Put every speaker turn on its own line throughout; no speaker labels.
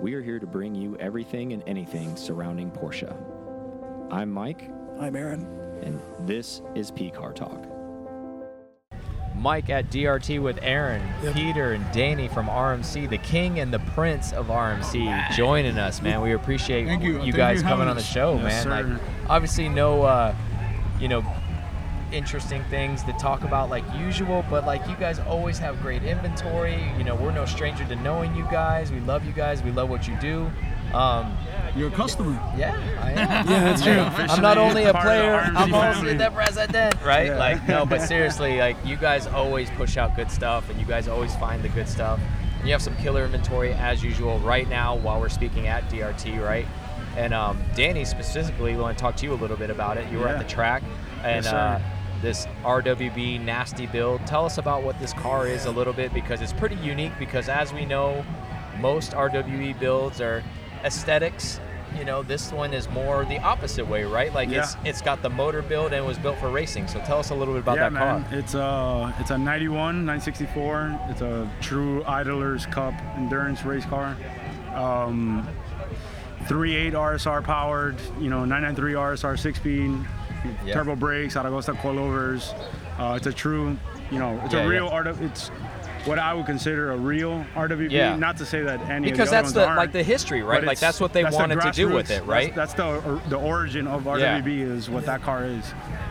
we are here to bring you everything and anything surrounding Porsche. I'm Mike,
I'm Aaron.
and this is P Car Talk.
Mike at DRT with Aaron,
Yep.
Peter, and Danny from RMC, the king and the prince of RMC, joining us, man. We appreciate
Thank you. Thank
guys
you for
coming
having
on the
us.
show, man.
Yes, sir.
Like, obviously, no, uh, you know, interesting things to talk about like usual, but like you guys always have great inventory. You know, we're no stranger to knowing you guys. We love you guys. We love what you do. Um,
You're a customer.
yeah, I am.
Yeah, that's true.
I'm not only a
part of the
player,
RMG
I'm also
family.
the president, right?
Yeah.
Like, no, but seriously, like, you guys always push out good stuff and you guys always find the good stuff. And you have some killer inventory as usual right now while we're speaking at DRT, right? And um, Danny specifically, we want to talk to you a little bit about it. You were at
Yeah.
the track and
Yes, sir.
uh, this RWB nasty build. Tell us about what this car is a little bit because it's pretty unique. Because as we know, most RWE builds are aesthetics. You know, this one is more the opposite way, right? Like it's
Yeah.
it's got the motor build and it was built for racing. So tell us a little bit about
yeah,
that
man.
car.
It's a it's a 91 964. It's a true Idlers Cup endurance race car. Um, 3.8 RSR powered. You know, 993 RSR six speed.
Yeah.
Turbo brakes, Aragosta coilovers. Uh, it's a true, you know, it's
Yeah,
a real
yeah.
RW. It's what I would consider a real RWB.
Yeah.
Not to say that any of
Because
the other
that's
ones
the
aren't,
like the history, right?
but
Like
it's-
that's what they
that's the
wanted to do with
grassroots.
it, right?
That's, that's the the origin of RWB is what that car is.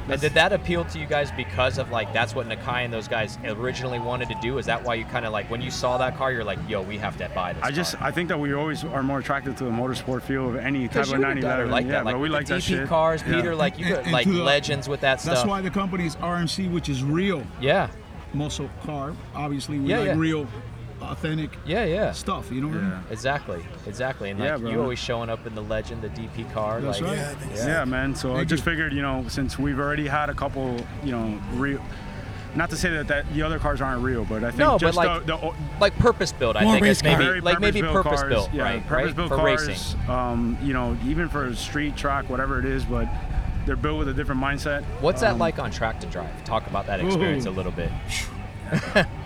And did that appeal to you guys because of like that's what Nakai and those guys originally wanted to do? Is that why you kind of like when you saw that car, you're like, yo, we have to buy this?
I just
car.
I think that we always are more attracted to the motorsport feel of any type
Because
of
you would've done
911.
it like
yeah,
that, like
but we
the
like
DP
that shit.
cars,
Yeah.
Peter, like you
And-
could
and
like
to the-
legends with that stuff.
That's why the company is RMC, which is real.
yeah,
Muscle car. Obviously, we
Yeah,
like
yeah.
real, authentic
yeah, yeah.
stuff. You know what I
Yeah.
mean?
Exactly, exactly. And like
Yeah,
you
bro.
always showing up in the legend, the DP car.
That's
like,
right.
Yeah, man. So I
Thank
just
you.
figured, you know, since we've already had a couple, you know, real. Not to say that, that the other cars aren't real, but I think
No, but
just
like-
the, the
Like purpose built, I
More
think it's
race car.
maybe
very
like maybe
purpose-built
purpose built,
cars, yeah,
right? right?
Purpose-built
For
cars,
racing.
Um, you know, even for street track, whatever it is, but they're built with a different mindset.
What's that
Um,
like on track to drive? Talk about that experience
Ooh.
a little bit.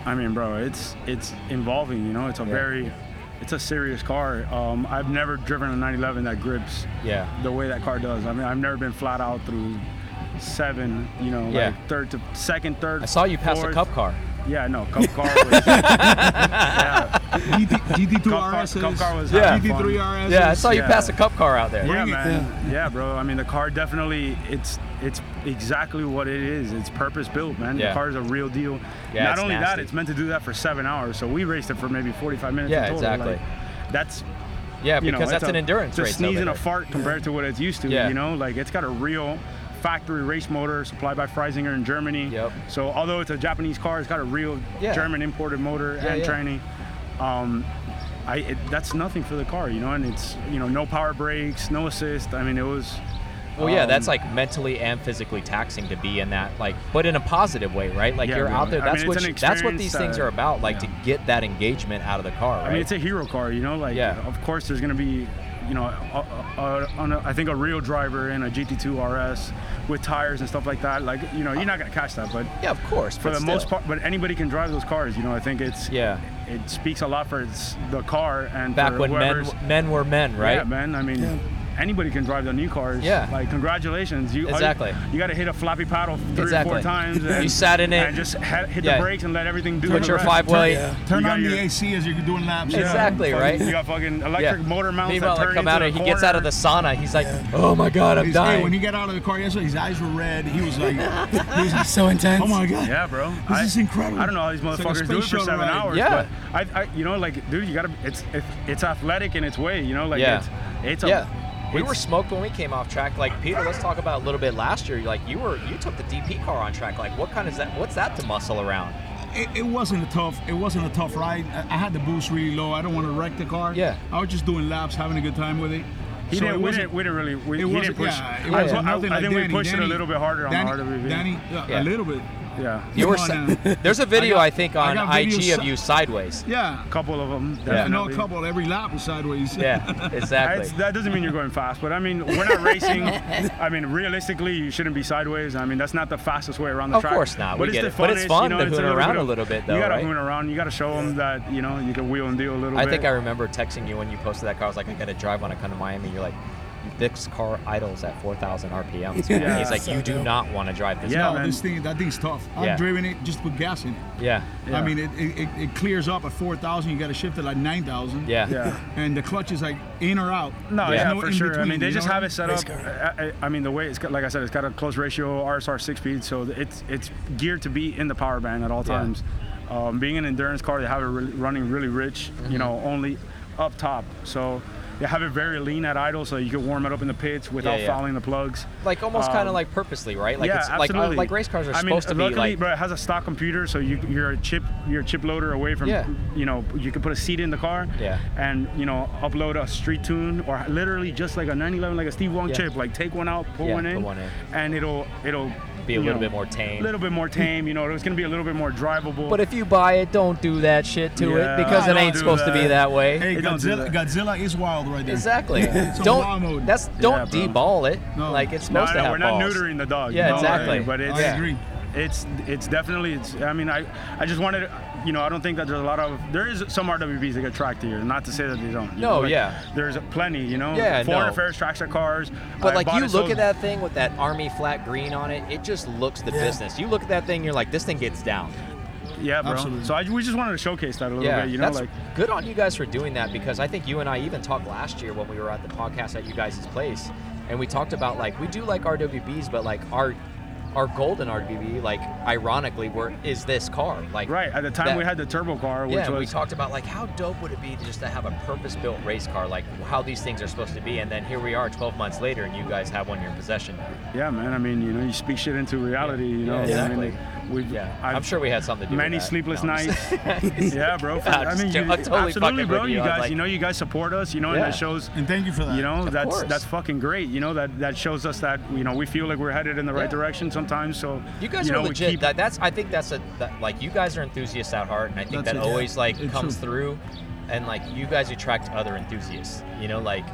I mean, bro, it's it's involving. You know, it's a
Yeah.
very, it's a serious car. Um, I've never driven a 911 that grips
Yeah.
the way that car does. I mean, I've never been flat out through seven. You know,
Yeah.
like third to second, third.
I saw you pass
fourth.
a cup car.
Yeah, no, cup car was. yeah,
GT,
cup, car,
GT2
cup car
RS.
was.
Yeah.
having fun.
GT3 RS.
Yeah, I saw you
yeah.
pass a cup car out there.
Yeah,
Bring it,
man. Yeah, bro. I mean, the car definitely it's it's exactly what it is. It's purpose built, man.
Yeah.
The car is a real deal.
Yeah,
Not
it's
only that,
nasty.
it's meant to do that for seven hours. So we raced it for maybe 45 minutes.
Yeah,
in total.
exactly.
Like, that's
Yeah,
you
because
know,
that's
it's
an
a-
endurance
it's a
race.
sneeze
over
and a
there.
fart compared to what it's used to.
Yeah.
You know, like it's got a real factory race motor supplied by Freisinger in Germany.
Yep.
So although it's a Japanese car, it's got a real
Yeah.
German imported motor and
yeah.
training. Um, I it, that's nothing for the car, you know, and it's you know no power brakes, no assist. I mean, it was.
Well, yeah,
um,
that's like mentally and physically taxing to be in that, like, but in a positive way, right? Like
Yeah,
you're
bro.
out there.
I mean,
That's
it's
what
an
you- that's what
experience
these things
that-
are about, like to get that engagement out of the car, right?
I mean, it's a hero car, you know. Like,
Yeah.
of course, there's gonna be, you know, a, a, a, on a, I think a real driver in a GT2 RS with tires and stuff like that. Like, you know, you're not gonna catch that, but
yeah, of course.
for
but
the most
still.
part. But anybody can drive those cars, you know. I think it's
Yeah.
It speaks a lot for its, the car and
back
for
when men
whoever's-
men were men, right?
Yeah, man. I mean, anybody can drive the new cars.
Yeah.
Like congratulations, you all you-
Exactly.
You got to hit a floppy paddle three or
Exactly.
four times.
You
And,
sat in it.
and just ha- hit
Yeah.
the brakes and let everything do.
Put
the
your
rest.
five way.
Yeah. Turn
You got
on the
your-
AC as you're doing laps.
Yeah,
Exactly,
fucking-
right?
You got fucking electric motor mounts
Meanwhile,
that turn
like, come
into
out
the
and he gets out of
corner.
the sauna. He's like, "Oh my god, I'm
He's-
dying."
Hey, when he got out of the car yesterday, his eyes were red. He was like,
so intense.
"Oh my god,
Yeah, bro. This
is incredible.
I don't know how these
It's like a
motherfuckers do it
space
for
shuttle
seven
ride.
hours.
Yeah.
But I, I, you know, like, dude, you gotta. It's it, it's athletic in its way. You know, like,
Yeah.
it's, it's a.
yeah. We
it's-
were smoked when we came off track. Like Peter, let's talk about a little bit last year. Like you were, you took the DP car on track. Like what kind is that? What's that to muscle around?
it, it wasn't a tough it wasn't a tough ride I, I had the boost really low i don't want to wreck the car
Yeah.
i was just doing laps having a good time with it
He
So
didn't,
it
we,
wasn't-
didn't, we didn't really. We,
it
he
wasn't
didn't push.
yeah, it
I,
wasn't
I- I
nothing like
think we
Danny.
pushed it
Danny-
a little bit harder on
Danny,
the RWV.
Danny, yeah, a
Yeah.
little bit
Yeah,
You were
Come on
si-
now.
there's a video I,
I got-
think
I
on
got
IG
videos
of
si-
you sideways.
Yeah.
couple of them.
I know a
definitely.
couple. Every lap was sideways.
Yeah,
That's,
exactly.
that doesn't mean you're going fast, but I mean, we're not racing. I mean, realistically, you shouldn't be sideways. I mean, that's not the fastest way around the
Of
track.
course not. We
But it's
get
the
it. But it's
funnest,
fun
you know,
to
it's
hoon around a
of-
little bit, though,
You gotta
right?
hoon around. You gotta show them that you know you can wheel and deal a little
I
bit.
think I remember texting you when you posted that car. I was like, I got to drive on a kind of Miami. You're like, this car idles at 4,000 RPMs. man."
Yeah.
He's like,
So
you do
dope.
not want to drive this
Yeah,
car.
Oh, this thing, that thing's tough. I've
Yeah.
driven it, just put gas in it.
Yeah.
Yeah.
I mean, it, it, it- it clears up at 4,000. You got to shift it like 9,000.
Yeah.
Yeah.
And the clutch is like in or out.
No,
Yeah.
yeah,
No
for
in
sure. I
between,
mean, they
you
just
know?
have it set
Race
up.
car.
I, I I mean, the way it's got, like I said, it's got a close ratio RSR six speed, so it's it's geared to be in the power band at all
Yeah.
times. Um, being an endurance car, they have it really, running really rich,
Mm-hmm.
you know, only up top. So they have it very lean at idle, so you can warm it up in the pits without
yeah.
fouling the plugs.
Like almost kind of
Um,
like purposely, right? Like
yeah,
it's like
absolutely.
uh, like race cars are
I mean,
supposed to
luckily,
be like
but it has a stock computer, so you, you're a chip, you're a chip loader away from,
Yeah.
you know, you can put a seat in the car,
Yeah.
and you know, upload a street tune or literally just like a 911, like a Steve Wong
Yeah.
chip, like take one out, pull
Yeah,
one, in,
put one in.
and it'll it'll
Be a
you
little
know,
bit more tame.
a little bit more tame. You know, it's gonna be a little bit more drivable.
But if you buy it, don't do that shit to
Yeah.
it because it
Don't
ain't
do
supposed to be
that.
that way.
Hey,
Hey, don't do
Godzilla,
that.
Godzilla is wild right there.
Exactly.
It's a wild
don't
mode.
that's don't
Yeah,
de-ball it.
No.
Like it's
no,
supposed to
no,
have
we're not
balls.
neutering the dog.
Yeah,
don't worry,
exactly.
But it's,
I agree.
it's it's definitely it's i mean i i just wanted you know i don't think that there's a lot of there is some rwbs that get tracked here not to say that they don't you
No,
know, like,
yeah.
there's plenty you know
Yeah,
foreign
no.
affairs tracks their cars
But
Uh,
like you
Bonasols-
look at that thing with that army flat green on it, it just looks the
Yeah.
business. You look at that thing, you're like, this thing gets down.
yeah bro
Absolutely.
so I, we just wanted to showcase that a little
yeah,
bit you know
that's
like
good on you guys for doing that because I think you and I even talked last year when we were at the podcast at you guys' place, and we talked about like we do like RWBs, but like our our golden RWB, like ironically, were is this car like
right at the time
that-
we had the turbo car which
yeah, and
was
we talked about like how dope would it be to just to have a purpose-built race car, like how these things are supposed to be, and then here we are, 12 months later, and you guys have one in your possession.
yeah man i mean you know you speak shit into reality you know
Yeah,
I mean,
exactly.
like, we've
Yeah, i
I've-
am sure we had something to do. with
many
that.
sleepless
No, I'm just-
nights. yeah, bro. for-
Nah,
I
just
mean, you,
joking. I'm totally
absolutely,
fucking
bro.
with you.
You
I'm
guys,
like-
you know, you guys support us. You know,
Yeah.
and that shows.
And thank you for that.
You know, that's
course.
that's fucking great. You know that that shows us that you know we feel like we're headed in the right
Yeah.
direction sometimes. So
You guys
know,
are
we
legit.
keep-
that, that's I think that's a that, like you guys are enthusiasts at heart, and I think
That's
that
it.
always like
It's
comes
true.
through, and like you guys attract other enthusiasts. You know, like,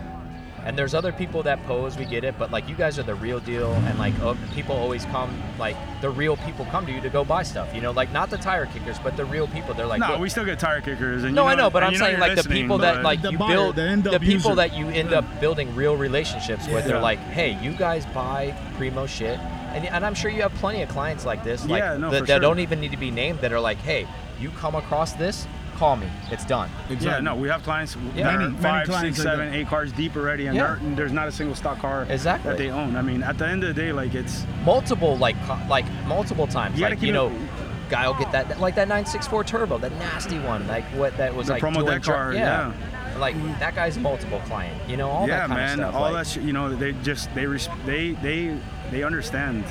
and there's other people that pose. We get it, but like you guys are the real deal, and like oh, people always come. Like the real people come to you to go buy stuff. You know, like not the tire kickers, but the real people. They're like,
no,
"Look,
we still get tire kickers. And
no,
you know,
I know, but
and
I'm
you
saying
you're
like the
listening,
people that
but-
like
The
you
buyer,
build
the end
the
up
people
user.
that you end up building real relationships with. They're
Yeah.
like, hey, you guys buy primo shit, and, and I'm sure you have plenty of clients like this, like
Yeah, no,
that,
for
that
sure.
don't even need to be named, that are like, hey, you come across this, call me, it's done.
Yeah, no, we have clients
Yeah.
that
Many-
are
many
five,
clients
six,
like
seven,
that.
eight cars deep already, and
Yeah.
they're- and there's not a single stock car
Exactly.
that they own. I mean, at the end of the day, like it's
Multiple like co- like multiple times,
You gotta
like you
keep
know.
it-
Guy will get that, that- like that 964 turbo, that nasty one, like what that was
The
like
promo
doing
deck
dri-
car,
like that guy's multiple client, you know, all
yeah,
that kind
man,
of stuff.
all
like-
that sh- you know, they just they res- they they they understand.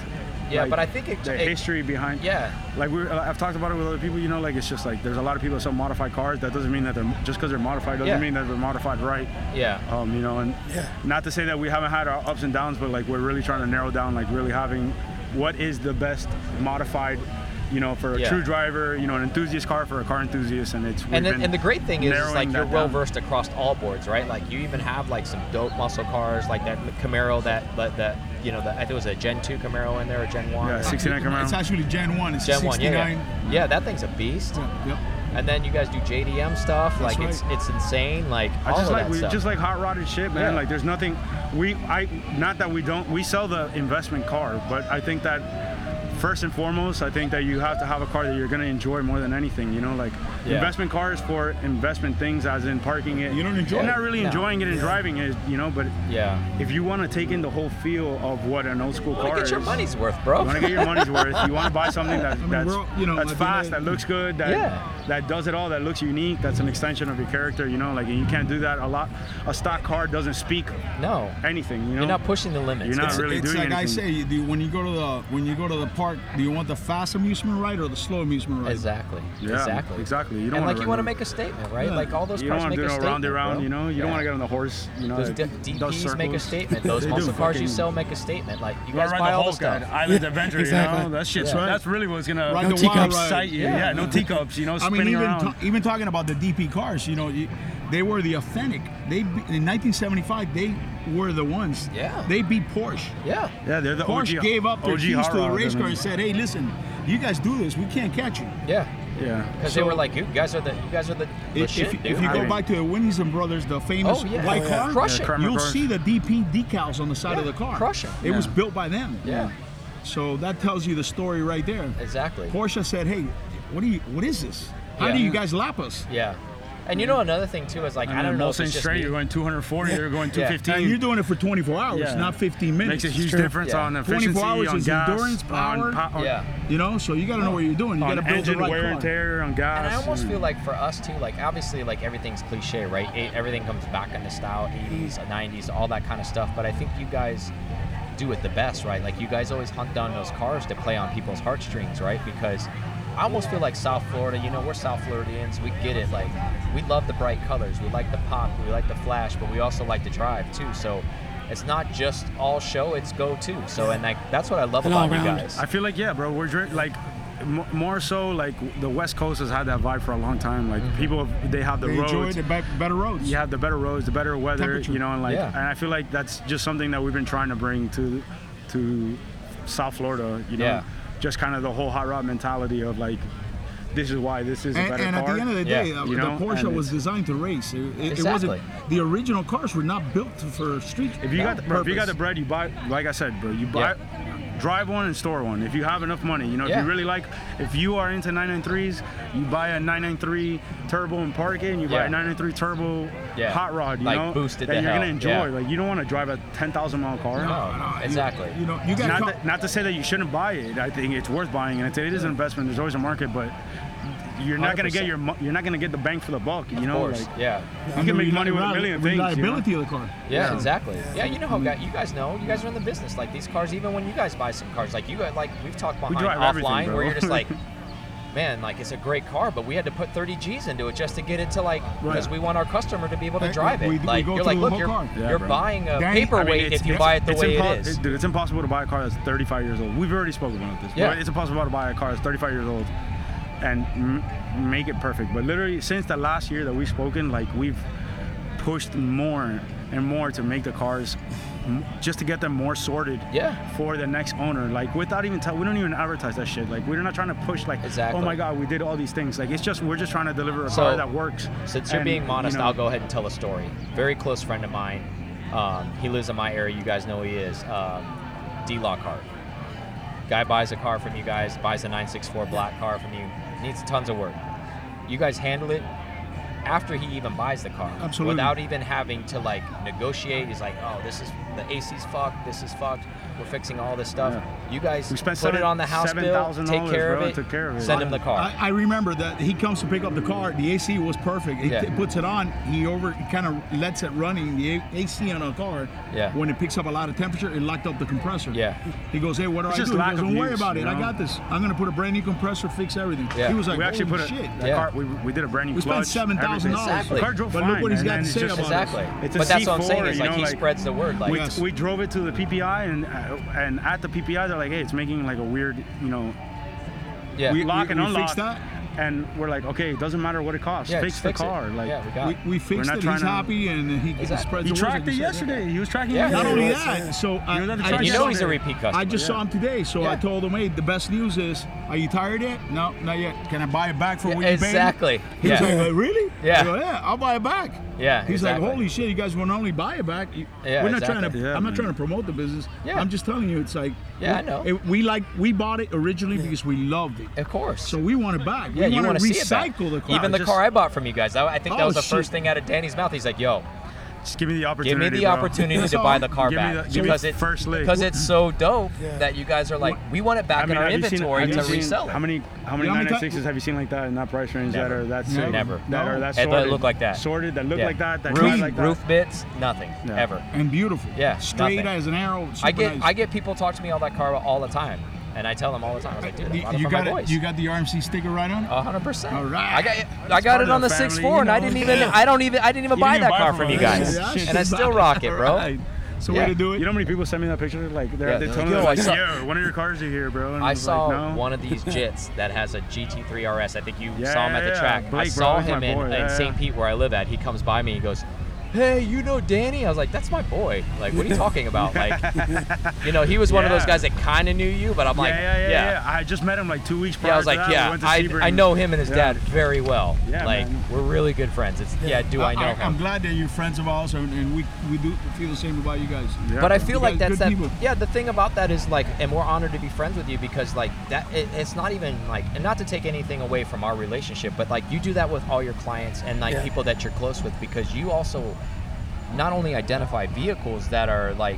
Yeah,
like,
but I think it-
the
it-
history behind
yeah,
like we are I've talked about it with other people. You know, like it's just like there's a lot of people that sell modified cars. That doesn't mean that they're just because they're modified doesn't
Yeah.
mean that they're modified right.
yeah.
Um, you know, and
Yeah.
not to say that we haven't had our ups and downs, but like we're really trying to narrow down, like really having what is the best modified, you know, for a
Yeah.
true driver, you know, an enthusiast car for a car enthusiast, and it's we've
and, then,
been
and the great thing is, is
narrowing
like you're
that
well
down.
versed across all boards, right? Like you even have like some dope muscle cars, like that Camaro that that, that you know, that I think it was a Gen two Camaro in there, or Gen one.
Yeah,
or-
69 Camaro.
It's actually Gen 1. It's
Gen
69.
one, yeah, yeah, yeah. That thing's a beast.
Yeah, yep.
And then you guys do JDM stuff, like it's
right.
it's insane, like
I
all
just
of
like
that
we
stuff.
just like hot rodded shit, man.
Yeah.
Like there's nothing we I not that we don't we sell the investment car, but I think that first and foremost, I think that you have to have a car that you're gonna enjoy more than anything. You know, like
Yeah.
investment cars for investment things, as in parking it.
You don't enjoy
You're
it.
not really
No.
enjoying it and driving it, you know. But
yeah.
if you want to take in the whole feel of what an old school
You wanna
car
get
is,
your money's worth, bro.
you want to get your money's worth. You want to buy something that, that's
we're all- you know,
that's
at the end
fast,
of the-
that looks good, that
Yeah.
that does it all, that looks unique, that's an extension of your character, you know, like and you can't do that a lot. A stock car doesn't speak
No,
anything, you know.
you're not pushing the limits.
You're not
It's-
really
it's
doing
like I
anything.
say, do you- when you go to the when you go to the park, do you want the fast amusement ride or the slow amusement ride?
Exactly.
Yeah,
exactly.
exactly. You don't
and
wanna
like you want to
run-
make a statement, right?
Yeah.
Like all those
You don't
cars
want to
make
do
a
no
statement.
round around,
bro.
you know. You
Yeah.
don't want to get on the horse, you know.
Those
that
d-
does
DPs make a
Uh, circles.
statement. Those
They
muscle
do,
cars you
fucking-
sell make a statement. Like you
Gotta
guys
ride
buy
the
all the
Hulk
stuff.
at Island Adventure, you
exactly.
know? That shit's
Yeah.
right.
That's really what's gonna
Ride No the wild teacups. ride.
excite you.
Yeah.
Yeah. no teacups, you know,
I
spinning
mean, even
around.
ta- even talking about the DP cars, you know, you, they were the authentic. They be- in 1975, they were the ones.
Yeah.
They beat Porsche.
Yeah.
yeah, they're the
Porsche
OG,
gave up their
OG
keys
hot
to the
rod,
race
I
car
mean.
and said, "Hey, listen, you guys do this. We can't catch you."
Yeah.
Yeah.
Because they were like, you guys are the you guys are the, the
If,
shit,
if,
dude.
if you
I
go
mean-
back to the Winnison brothers, the famous
oh yeah.
white
Yeah.
car,
Crush it.
Yeah, Kramer
you'll
Burns.
see the DP decals on the side of the car.
crush 'em.
It was built by them.
Yeah.
So that tells you the story right there.
Exactly.
Porsche said, "Hey, what do you? What is this? How
Yeah.
do you guys lap us?"
Yeah. And you know another thing too is like I,
I
don't
mean,
know if
Molson
it's just
straight,
me.
you're going 240, they're going
Yeah.
215.
And you're doing it for 24 hours,
Yeah.
not 15 minutes.
Makes a huge difference
Yeah.
on
24
efficiency,
hours
on
is
gas,
endurance, power.
on, po- on,
Yeah.
You know, so you got to know what you're doing. You got
on
to build the
engine
right
wear and
car.
tear, on gas.
And I almost feel like for us too, like obviously, like everything's cliche, right? It, everything comes back into style, 80s, 90s, all that kind of stuff. But I think you guys do it the best, right? Like you guys always hunt down those cars to play on people's heartstrings, right? Because I almost feel like South Florida, you know, we're South Floridians, we get it. Like we love the bright colors, we like the pop, we like the flash, but we also like to drive too. So. It's not just all show; it's go too. So, and like that's what I love
And all
about you
round.
guys.
I feel like yeah, bro. We're dri- like m- more so like the West Coast has had that vibe for a long time. Like people, they have the
Mm-hmm. They
roads.
enjoy the be- better roads.
you have the better roads, the better weather,
Temperature.
you know, and like,
Yeah.
and I feel like that's just something that we've been trying to bring to, to South Florida, you know,
Yeah.
just kind of the whole hot rod mentality of like, this is why this is a
And,
better
and at
car.
the end of the day,
Yeah.
uh,
You know,
the Porsche
and
was
it's-
designed to race. It, it- it
Exactly.
wasn't. The original cars were not built for street.
if you got, the, bro, if you got the
purpose.
bread, you buy. Like I said, bro, you buy, drive one and store one. If you have enough money, you know, if
Yeah.
you really like, if you are into 993s, you buy a 993 turbo and park it, and you buy
Yeah.
a 993 turbo
Yeah.
hot rod, you
Like,
know,
boosted
that
to
you're
hell.
gonna enjoy.
Yeah.
Like you don't want to drive a 10,000 mile car.
No, Oh, exactly.
You know, you got
not,
to
that, not to say that you shouldn't buy it. I think it's worth buying, and it's, it is an investment. There's always a market, but you're not gonna get
100%.
your mo- you're not gonna get the bang for the buck. You
of
know,
course,
Like,
yeah.
you can make money with a
Reli-
million things. you know?
Reliability of the car.
Yeah, exactly. Yeah, you know how guy, you guys know. You guys are in the business. Like these cars, even when you guys buy some cars, like you guys, like we've talked behind
drive everything,
offline,
bro.
where you're just like, man, like it's a great car, but we had to put 30 G's into it just to get it to like because we want our customer to be able to
Hey,
drive it.
we- we
like
go
you're
through
like,
the
look,
whole
you're
car.
Yeah,
you're
bro.
buying
Dang. I
a
mean,
I mean,
paperweight
it's-
if you
it's-
buy it the
it's
way
impos-
it is.
dude, it's impossible to buy a car that's 35 years old. We've already spoken about this.
Yeah.
But it's impossible to buy a car that's 35 years old and m- make it perfect. But literally, since the last year that we've spoken, like we've pushed more and more to make the cars m- just to get them more sorted
Yeah.
for the next owner like without even tell we don't even advertise that shit like we're not trying to push like
Exactly.
oh my god we did all these things like it's just we're just trying to deliver a
So,
car that works
Since you're
And,
being
you
modest,
know,
I'll go ahead and tell a story. Very close friend of mine. Um, he lives in my area. You guys know who he is. Um, D Lockhart. Guy buys a car from you guys. Buys a 964 black car from you. Needs tons of work. You guys handle it after he even buys the car.
Absolutely.
Without even having to like negotiate. He's like, oh, this is the AC's fucked. This is fucked. We're fixing all this stuff.
Yeah.
You guys
We spent
put it
seven-
on the house bill.
$7,000,
Take care
bro,
of it.
took care of it.
Send him the car.
I, I remember that he comes to pick up the car. The AC was perfect. He
Yeah.
t- puts it on. He over kind of lets it running. The A- AC on a car.
Yeah.
When it picks up a lot of temperature, it locked up the compressor.
Yeah.
He goes, hey, what do
It's
I
just
do? He
lack
goes,
of
don't worry
use,
about it.
you
I
know?
got this. I'm gonna put a brand new compressor, fix everything.
Yeah.
He was like,
we actually
"Holy
put a,
shit.
that
Yeah.
car we, we did a brand new
We spent
clutch,
$7,000.
everything. The car drove
But
fine
look what he's
and
got
then
to
it's
say
just-
about it.
Exactly.
It's a
But that's what I'm saying
C4,
is,
you
like,
know,
he spreads the word, like-
we,
Yes.
we drove it to the PPI and uh, and at the PPI they're like, hey, it's making like a weird, you know,
yeah.
we-
lock and
we
unlock.
fixed that?
And we're like, okay, it doesn't matter what it costs.
yeah,
fix
just
the
it.
car. Like
yeah, we got it.
We, we
We're
fixed
not
it.
trying
He's
to-
happy and he
Exactly.
spreads the
he
word, like
tracked it
you said.
yesterday. He was tracking
Yeah.
it.
Not
yesterday.
only
Yeah.
that, so I,
You're the
I
track
And you
just-
know he's a repeat customer.
I just
yeah.
saw him today, so
Yeah.
I told him, "Hey, the best news is, are you tired yet? No, not yet. Can I buy it back for
Yeah,
what you paid?"
exactly.
He was
Yeah.
like, "Uh, "Really?
Yeah.
I go, yeah, I'll buy it back."
Yeah,
He's
exactly.
like, "Holy shit, you guys will not only buy it back. you-
Yeah,
we're not
exactly.
trying to.
Yeah,
I'm not
man.
trying to promote the business.
Yeah.
I'm just telling you, it's like,
Yeah,
we,
I know.
It, we like we bought it originally because we loved it,
Of course.
so we want it back.
yeah,
we
you
want
want
to
to see it back.
recycle the car.
Even the
Just-
car I bought from you guys, I, I think that
Oh,
was the
shit.
first thing out of Danny's mouth. He's like, "Yo,
Just give me the
Give me
opportunity.
the
bro.
opportunity
That's
to buy
all.
the car
Give me
back
the- give me
because it
first lick.
because it's so dope
Yeah.
that you guys are like, we want it back
I mean,
in our
have you seen-
inventory
have you
to
seen
resell it.
How many how many
You know how many
996s have you seen like that in that price range that
Never.
are
Never.
that sick,
Never.
that are that
It
sorted,
look like that.
sorted that look
Yeah.
like that that
roof,
drive like that.
roof bits, nothing
No.
ever.
and beautiful.
Yeah,
straight
nothing.
as an arrow. Super
I get
nice.
I get people talk to me on that car all the time, and I tell them all the time. I was like, dude, I bought
You,
it
you
from
got
my
it.
boys. Oh,
You got the RMC sticker right on. it?
A hundred percent.
All right.
I got it. I got
part
it
of
on
the
the six
family,
four,
you
and I
know.
didn't even. I don't even. I didn't even
You
buy
didn't
that
buy
car
from
from you
us.
guys,
Yeah,
shit.
and I still rock it, bro.
Right. So
Yeah.
way to do it.
You know how many people sent me that picture? Like they're
Yeah,
at the
they're
tunnel,
like,
they're
"Yo, I
like,
saw-
yo, one of your cars are here, bro. And
I
was
saw
like, no.
one of these jits that has a GT3 RS. I think you
Yeah,
saw him at the
yeah,
track. I
Blake, bro,
saw
he's
him
my
in,
boy.
in
Yeah,
St.
yeah.
Pete where I live at. He comes by me. He goes, "Hey, you know Danny?" I was like, "That's my boy." Like, what are you talking about? Like, you know, he was one of those
Yeah.
guys that kind of knew you, but I'm
Yeah,
like,
yeah, yeah, yeah, I just met him like two weeks prior.
Yeah, I was
to
like,
that. We
yeah,
went to
I,
Sebring.
I know him and his
Yeah.
dad very well.
Yeah,
like,
man.
we're really good friends. It's yeah, do I, know him?
am glad that you're friends of ours, and, and we we do feel the same about you guys.
Yeah.
But I feel
You
like
guys
that's
good
that.
people.
Yeah, the thing about that is like, and we're honored to be friends with you because like that. It, it's not even like, and not to take anything away from our relationship, but like you do that with all your clients and like
Yeah.
people that you're close with because you also not only identify vehicles that are like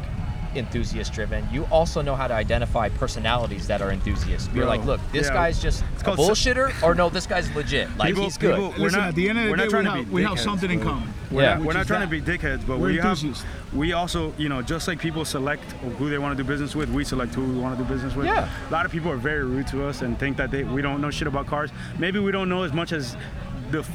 enthusiast driven, you also know how to identify personalities that are enthusiasts. You're
Bro,
like, look, this
yeah.
guy's just a
called so-
bullshitter, or no, this guy's legit. Like
People-
he's good.
people- We're
Listen,
not-
at the end of the
we're not
day, we
trying to
have,
be
we have
dickheads,
something in
bro.
common.
Yeah.
We're
which
not
is
trying
that.
to be dickheads, but
We're
we have,
enthusiasts.
we also, you know, just like people select who they want to do business with, we select who we want to do business with.
Yeah.
A lot of people are very rude to us and think that they we don't know shit about cars. Maybe we don't know as much as the f-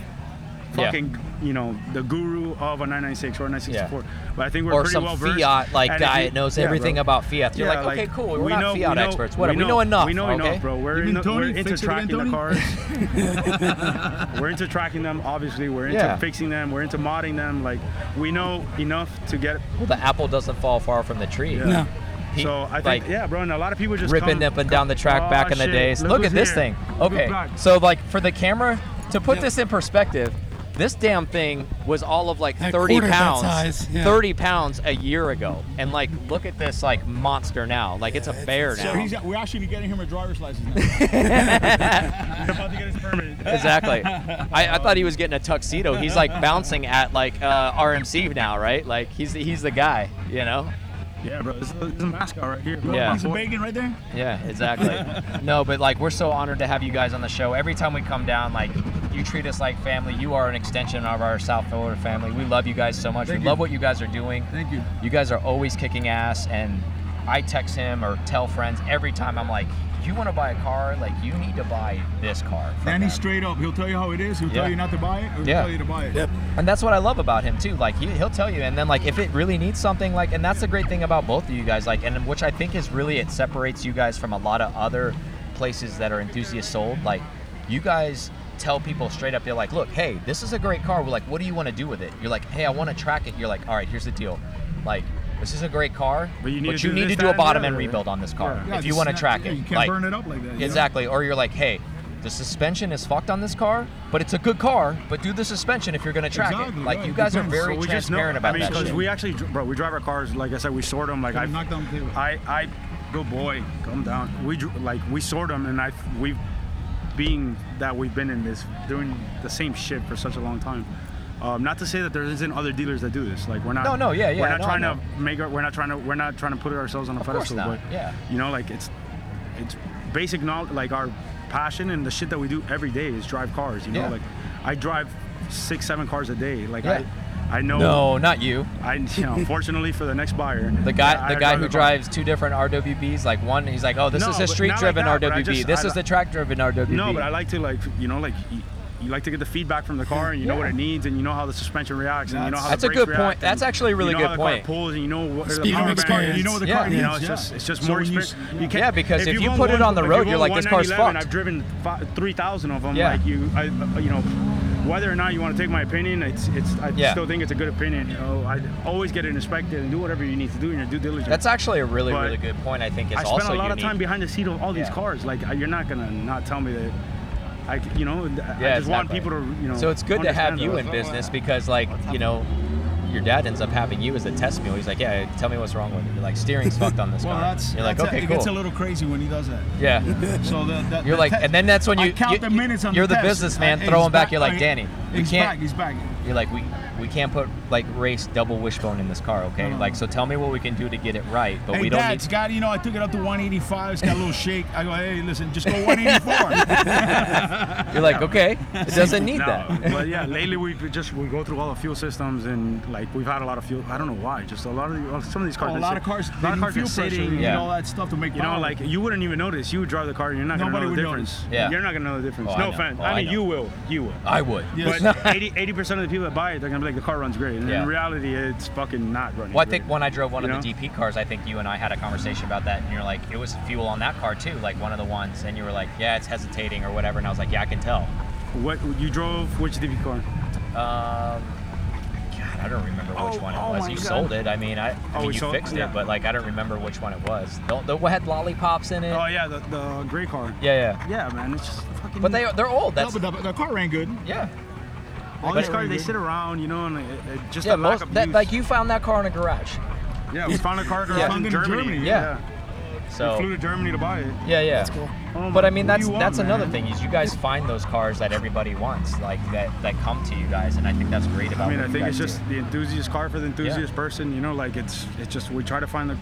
Yeah.
fucking, you know, the guru of a 996 or a 964. But I think we're
or
pretty
some
well versed.
Fiat like
And if
guy
you-
that knows
yeah,
everything
bro.
about Fiat. You're
Yeah,
like, okay, cool. We're not Fiat experts. Whatever. We know, enough.
We know
okay?
enough, bro.
You
We're,
mean
in,
Tony?
we're into
Fix it again,
tracking the
Tony?
cars. we're into tracking them, obviously. We're into
Yeah.
fixing them. We're into modding them. Like, we know enough to get.
Well, the apple doesn't fall far from the tree.
No.
He-
So I think,
like,
yeah, bro. And a lot of people just
ripping
come,
up and down the track
Oh,
back in the
shit,
days. Look,
who's
at this
here.
thing. Okay,
back.
so like for the camera to put
Yeah.
this in perspective, this damn thing was all of like
That
30
quarter that
pounds,
size, yeah.
30 pounds a year ago, and like look at this like monster now. Like it's a bear
So
now.
he's, we're actually getting him a driver's license now.
about to get his permit.
Exactly. I, I thought he was getting a tuxedo. He's like bouncing at like uh, RMC now, right? Like he's the, he's the guy, you know?
Yeah, bro. This is, this is a mascot right here. Bro.
Yeah.
Piece of bacon right there.
Yeah, exactly. no, but like we're so honored to have you guys on the show. Every time we come down, like you treat us like family. You are an extension of our South Florida family. We love you guys so much.
Thank
we
you.
love what you guys are doing.
Thank you.
You guys are always kicking ass, and I text him or tell friends every time. I'm like, you want to buy a car? Like you need to buy this car. from
Danny's
them."
straight up. He'll tell you how it is. He'll
Yeah.
tell you not to buy it. Or he'll
Yeah.
tell you to buy it.
Yep.
and that's what I love about him too. Like he, he'll tell you, and then like if it really needs something, like and that's the great thing about both of you guys, like and which I think is really it separates you guys from a lot of other places that are enthusiast sold. Like you guys tell people straight up, they're like, look, hey, this is a great car. We're like, what do you want to do with it? You're like, hey, I want to track it. You're like, all right, here's the deal, like. This is a great car,
But you need to do
need
this,
to do a
that, and the
bottom end
other.
rebuild on this car
Yeah,
if you
just
want to
not-
track
yeah,
it.
You can't
like,
burn it up like that. you know?
Exactly. Or you're like, hey, the suspension is fucked on this car, but it's a good car. But do the suspension if you're gonna track
Exactly,
it. Like
right.
you guys are
Depends.
very
So we just know.
transparent about
I mean,
that shit.
we actually, dr- bro, we drive our cars. Like I said, we sort them. Like
Gotta
I,
knock down the table.
I, I, good boy, calm down. We dr- like we sort them, and I, we, being that we've been in this, doing the same shit for such a long time. Um, not to say that there isn't other dealers that do this. Like we're not.
No, no, yeah, yeah,
We're not
no, I
trying to
know.
make. Our, we're not trying to. We're not trying to put ourselves on a
Of course
pedestal.
not,
But
yeah.
You know, like it's, it's basic knowledge. Like our passion and the shit that we do every day is drive cars. You know,
Yeah.
like I drive six, seven cars a day. Like
Yeah.
I, I know.
no, not you.
I, you know, fortunately for the next buyer,
The guy,
I-
the
I
guy
drive
who
car.
drives two different RWBs. Like one, he's like, oh, this
No,
is a
but not like
street-driven
that, but I
RWB.
just-
this
I
is the
li-
track-driven RWB.
No, but I like to like, you know, like you, you like to get the feedback from the car, and you know what it needs, and you know how the suspension reacts, and you know how
That's
the
a
brakes
good point.
react, and
That's actually a really
you know
good
how the
point.
Car pulls, and you know what
Speed of
power bank-
experience.
You know what the
Yeah.
car, you know,
Yeah.
it's just it's just
So
more
when you
experience.
s-
You can't,
Yeah, because if
you've
you
owned
put it on the
if
road,
you've
you're
owned
like, this car's
197,
fucked.
I've driven fi- 3,000 of them.
Yeah.
Like you, I, you know, whether or not you want to take my opinion, it's it's. I
Yeah.
still think it's a good opinion. You know, I always get it inspected and do whatever you need to do in your due diligence.
That's actually a really,
But
really good point. I think it's
I
also
spent a lot
unique.
of time behind the seat of all these
Yeah.
cars. Like I- you're not gonna not tell me that. I you know th-
Yeah,
I just want
exactly.
people to you know.
So it's good to have
understand
you
that.
in business because, like, you know, your dad ends up having you as a test mule. He's like, yeah, tell me what's wrong with it. You're like, steering's fucked on this
Well,
car.
that's,
You're like,
that's
okay,
it
cool.
gets a little crazy when he does that.
yeah.
So that, that
You're
the
like,
test-
and then that's when
I
you
count
you-
the minutes on
You're
the
the
test.
businessman.
I-
Throw
he's
him back. You're
I-
like, Danny, we
he's
can't.
back. He's back.
You're like, we we can't put like race double wishbone in this car, okay? Like, so tell me what we can do to get it right, but
Hey,
we don't
Dad,
need.
Scotty, you know, I took it up to 185. It's got a little shake. I go, hey, listen, just go 184.
You're like, okay, it doesn't need
No,
that.
but yeah, lately we we just we go through all the fuel systems and like we've had a lot of fuel. I don't know why, just a lot of the, some of these cars.
Oh, a
that
lot
sit-
of cars,
a lot of cars
fuel
that's
pressure
sitting.
and
Yeah.
all that stuff to make
You know,
power.
like you wouldn't even notice. You would drive the car, and you're not
Nobody
gonna know the
would
difference.
notice.
Yeah.
You're not gonna know the difference.
Oh, I
no
know.
offense.
Oh,
I
I
mean,
know.
you will. You will.
I would.
Yes.
But 80 percent of the people that buy it, they're gonna be like, the car runs great, and
Yeah.
in reality, it's fucking not running.
Well, I
great.
think when I drove one
You
of the
know?
DP cars, I think you and I had a conversation about that, and you're like, it was fuel on that car too, like one of the ones, and you were like, yeah, it's hesitating or whatever, and I was like, yeah, I can tell.
what you drove, which DP car?
Um, God, I don't remember which
Oh,
one it
oh
was.
my
you
God.
sold it. I mean, I, I
Oh,
mean,
we
you
sold-
fixed
yeah.
it, but like, I don't remember which one it was. The, the one had lollipops in it.
Oh yeah, the, the gray car.
yeah, yeah.
Yeah, man, it's just fucking.
But they they're old.
No,
That's
but the, the car ran good.
yeah.
all
but-
these cars they sit around, you know, and it, it, just
Yeah,
a lack
most,
of
that,
use.
like you found that car in a garage.
Yeah, we found a car garage
Yeah.
in,
Found it in
Germany.
Germany,
yeah.
We flew
So
to Germany to buy it.
yeah, yeah.
Oh
But
my-
I mean,
what
that's
do you want,
that's another
man?
thing is you guys find those cars that everybody wants, like that that come to you guys, and I think that's great about.
I mean,
what
I
you
think it's
guys
just
do.
the enthusiast car for the enthusiast person. You know, like it's it's just we try to find the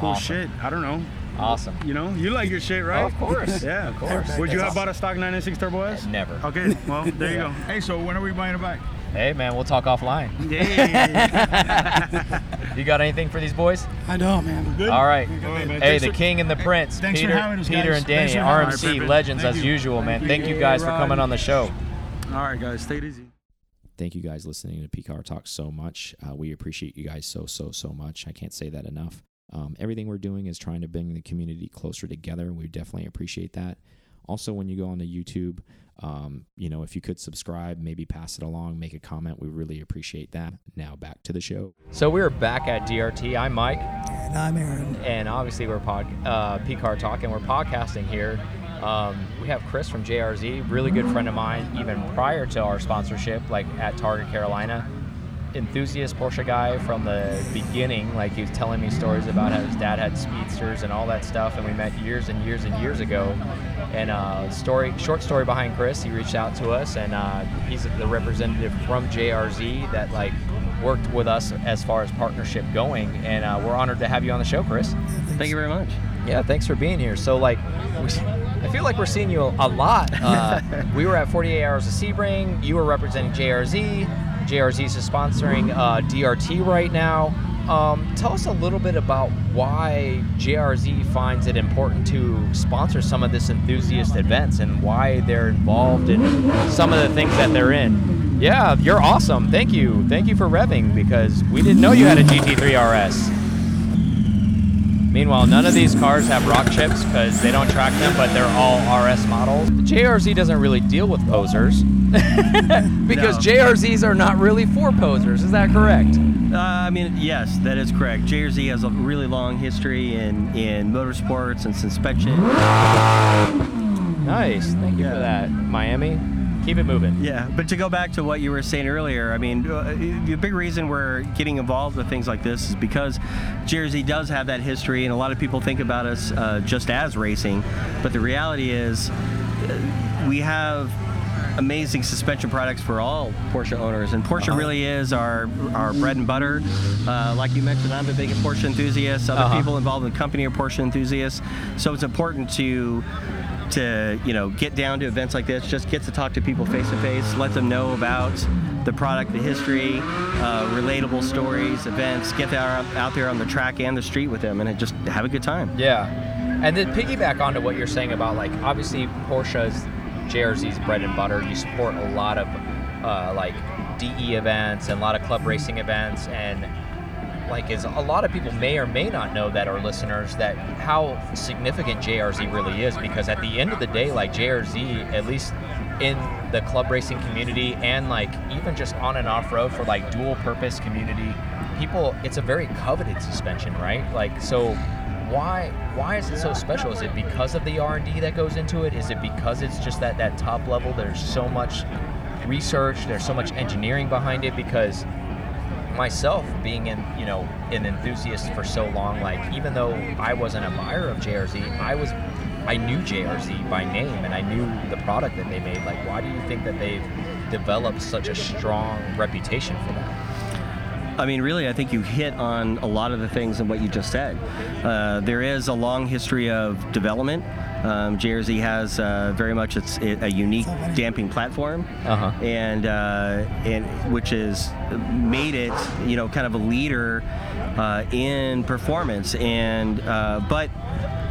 cool
Awesome.
shit. I don't know.
awesome.
You know, you like your shit, right?
of course.
yeah,
Of course.
Would you
That's
have bought a stock 996 Turbo S?
Never.
Okay, well there you go.
Hey, so when are we buying it back?
Hey man, we'll talk offline.
Yeah.
You got anything for these boys?
I don't, man.
Good?
All right.
All right, man.
Hey,
Thanks
the
for-
king and the prince,
thanks for
Peter,
having us,
Peter
guys.
and
Thanks
Danny,
for having
us. All right,
RMC
Pippin.
legends
Thank
as
you.
usual, man.
Thank
Thank
you.
you guys for
Hey,
coming
Rod.
on the show.
All right, guys, take it easy.
Thank you guys listening to PCAR Talk so much. Uh, we appreciate you guys so, so, so much. I can't say that enough. Um, everything we're doing is trying to bring the community closer together. We definitely appreciate that. Also, when you go onto YouTube, um, you know, if you could subscribe, maybe pass it along, make a comment. We really appreciate that. Now back to the show.
So we're back at DRT. I'm Mike,
And I'm Aaron.
and obviously we're pod, uh, PCAR Talk, and we're podcasting here. Um, we have Chris from JRZ, really good friend of mine, even prior to our sponsorship, like at Target Carolina. Enthusiast Porsche guy from the beginning, like he was telling me stories about how his dad had speedsters and all that stuff, and we met years and years and years ago. And uh, story, short story behind Chris, he reached out to us, and uh, he's the representative from JRZ that like worked with us as far as partnership going, and uh, we're honored to have you on the show, Chris.
Thank you very much.
Yeah, thanks for being here. So, like, we, I feel like we're seeing you a, a lot. Uh, we were at 48 Hours of Sebring. You were representing JRZ. JRZ is sponsoring uh, DRT right now. Um, tell us a little bit about why JRZ finds it important to sponsor some of this enthusiast events and why they're involved in some of the things that they're in. Yeah, you're awesome. Thank you. Thank you for revving because we didn't know you had a GT3 RS. Meanwhile, none of these cars have rock chips because they don't track them, but they're all RS models. JRZ doesn't really deal with posers because
No.
JRZs are not really for posers. Is that correct?
Uh, I mean, yes, that is correct. JRZ has a really long history in, in motorsports and suspension.
Nice. Thank you for
Yeah.
that, Miami. Keep it moving.
Yeah, but to go back to what you were saying earlier, I mean, uh, the big reason we're getting involved with things like this is because Jersey does have that history, and a lot of people think about us uh, just as racing, but the reality is uh, we have amazing suspension products for all Porsche owners, and Porsche really is our our bread and butter. Uh, like you mentioned, I'm a big Porsche enthusiast. Other
Uh-huh.
people involved in the company are Porsche enthusiasts, so it's important to to you know get down to events like this just get to talk to people face to face let them know about the product the history uh, relatable stories events get there out there on the track and the street with them and just have a good time
Yeah. And then piggyback onto what you're saying about like obviously Porsche's JRZ's bread and butter. You support a lot of uh, like DE events and a lot of club racing events and like is a lot of people may or may not know that are listeners that how significant JRZ really is because at the end of the day like JRZ at least in the club racing community and like even just on and off road for like dual purpose community people it's a very coveted suspension right like so why why is it so special is it because of the R&D that goes into it is it because it's just that that top level there's so much research there's so much engineering behind it because myself being in you know an enthusiast for so long like even though i wasn't a buyer of jrz i was i knew jrz by name and i knew the product that they made like why do you think that they've developed such a strong reputation for that?
I mean, really, I think you hit on a lot of the things in what you just said. Uh, there is a long history of development. Um, JRZ has uh, very much it's a unique damping platform,
Uh-huh.
and uh, and which has made it you know kind of a leader uh, in performance. And uh, but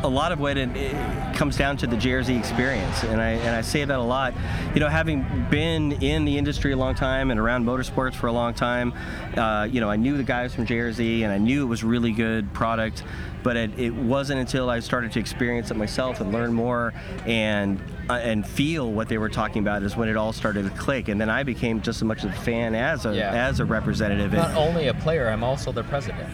a lot of what it, it comes down to the JRZ experience, and I and I say that a lot. You know, having been in the industry a long time and around motorsports for a long time, uh, you know, I knew the guys from JRZ, and I knew it was really good product. But it, it wasn't until I started to experience it myself and learn more and uh, and feel what they were talking about is when it all started to click. And then I became just as much a fan as a
Yeah.
as a representative.
Not
And-
only a player, I'm also the president.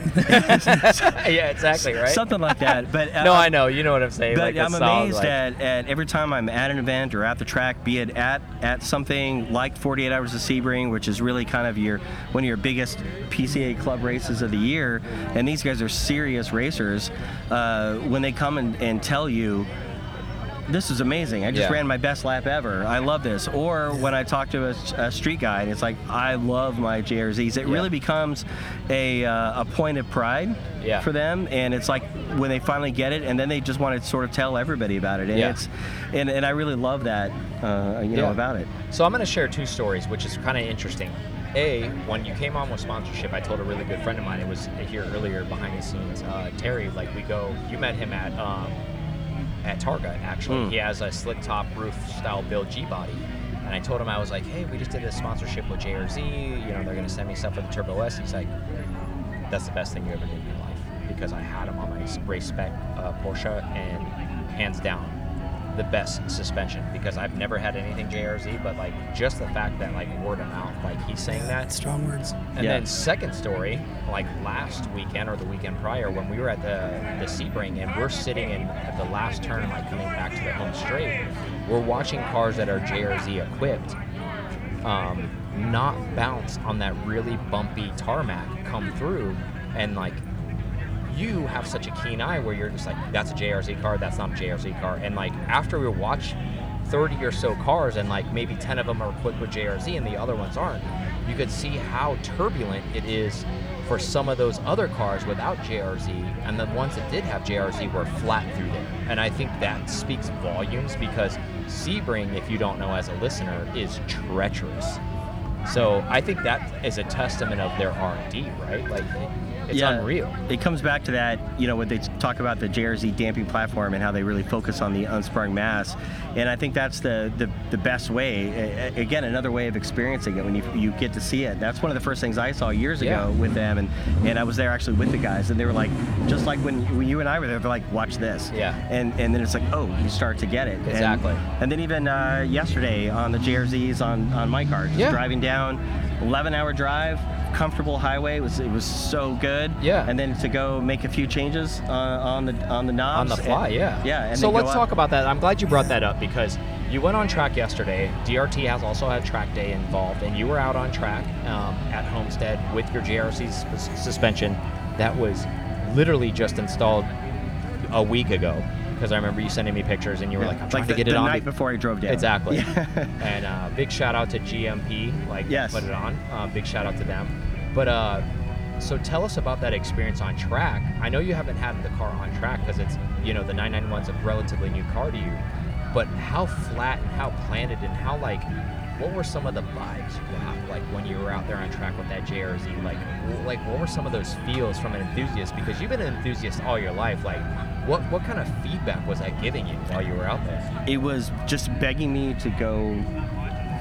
yeah, exactly, right?
Something like that, but
no,
uh,
I know. You know what I'm saying.
But
like,
I'm
it's solid,
amazed
like-
at, at every time I'm at an event or at the track, be it at at something like 48 Hours of Sebring, which is really kind of your one of your biggest PCA club races of the year, and these guys are serious racers. Uh, when they come and, and tell you. This is amazing. I just
Yeah.
ran my best lap ever. I love this. Or when I talk to a, a street guy and it's like, I love my JRZs. It really becomes a, uh, a point of pride
Yeah.
for them them, and it's like when they finally get it and then they just want to sort of tell everybody about it and
Yeah.
it's and, and i really love that uh, you know
Yeah.
about it
So I'm going to share two stories, which is kind of interesting. A, when you came on with sponsorship, I told a really good friend of mine. It was here earlier behind the scenes. Uh, Terry, like we go, you met him at um, at Targa. Actually, he has a slick top roof style build G body. And I told him I was like, hey, we just did a sponsorship with JRZ. You know, they're going to send me stuff for the Turbo S. He's like, that's the best thing you ever did in your life because I had them on my race spec uh, Porsche and hands down the best suspension because I've never had anything JRZ but like just the fact that like word of mouth like he's saying that
Strong words.
and
Yeah.
then second story, like last weekend or the weekend prior, when we were at the the Sebring and we're sitting in at the last turn, like coming back to the home straight, we're watching cars that are JRZ equipped um, not bounce on that really bumpy tarmac come through, and like you have such a keen eye where you're just like, that's a JRZ car, that's not a JRZ car. And like after we watch 30 or so cars and like maybe 10 of them are equipped with JRZ and the other ones aren't, you could see how turbulent it is for some of those other cars without JRZ. And the ones that did have JRZ were flat through there. And I think that speaks volumes because Sebring, if you don't know as a listener, is treacherous. So I think that is a testament of their R&D, right? Like it's unreal.
It comes back to that, you know, when they talk about the JRZ damping platform and how they really focus on the unsprung mass. And I think that's the the, the best way. A- a- Again, another way of experiencing it when you, you get to see it. That's one of the first things I saw years ago
Yeah.
with them, and, and I was there actually with the guys, and they were like, just like when, when you and I were there, they're like, watch this.
Yeah.
And and then it's like, oh, you start to get it. And-
Exactly.
And, then even uh, yesterday on the JRZs on on my car, just
Yeah.
driving down, 11 hour drive, comfortable highway. It was it was so good.
Yeah.
And then to go make a few changes uh, on the on the knobs.
on the fly,
and-
yeah.
Yeah. And
so
then go
let's
up.
talk about that. I'm glad you brought that up because you went on track yesterday. DRT has also had track day involved, and you were out on track um, at Homestead with your JRC sus- suspension that was literally just installed a week ago. Because I remember you sending me pictures, and you were
Yeah.
like, "I'm
Like
trying
the-
to get it
the
on
night
be-
before I drove down.
Exactly.
Yeah.
and uh, big shout out to GMP, like
Yes.
put it on. Uh, big shout out to them. But uh, so tell us about that experience on track. I know you haven't had the car on track because it's you know the 991's a relatively new car to you. But how flat and how planted and how like what were some of the vibes you got like when you were out there on track with that JRZ? Like w- like what were some of those feels from an enthusiast? Because you've been an enthusiast all your life. Like what what kind of feedback was that giving you while you were out there?
It was just begging me to go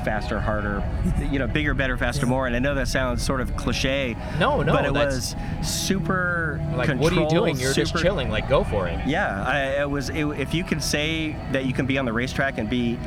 faster, harder, you know, bigger, better, faster, more. And I know that sounds sort of cliche.
No, no,
But it
that's-
was super
Like,
controlled.
what are you doing? You're just
super-
chilling. Like, go for it.
Yeah, I, it was. It, if you can say that you can be on the racetrack and be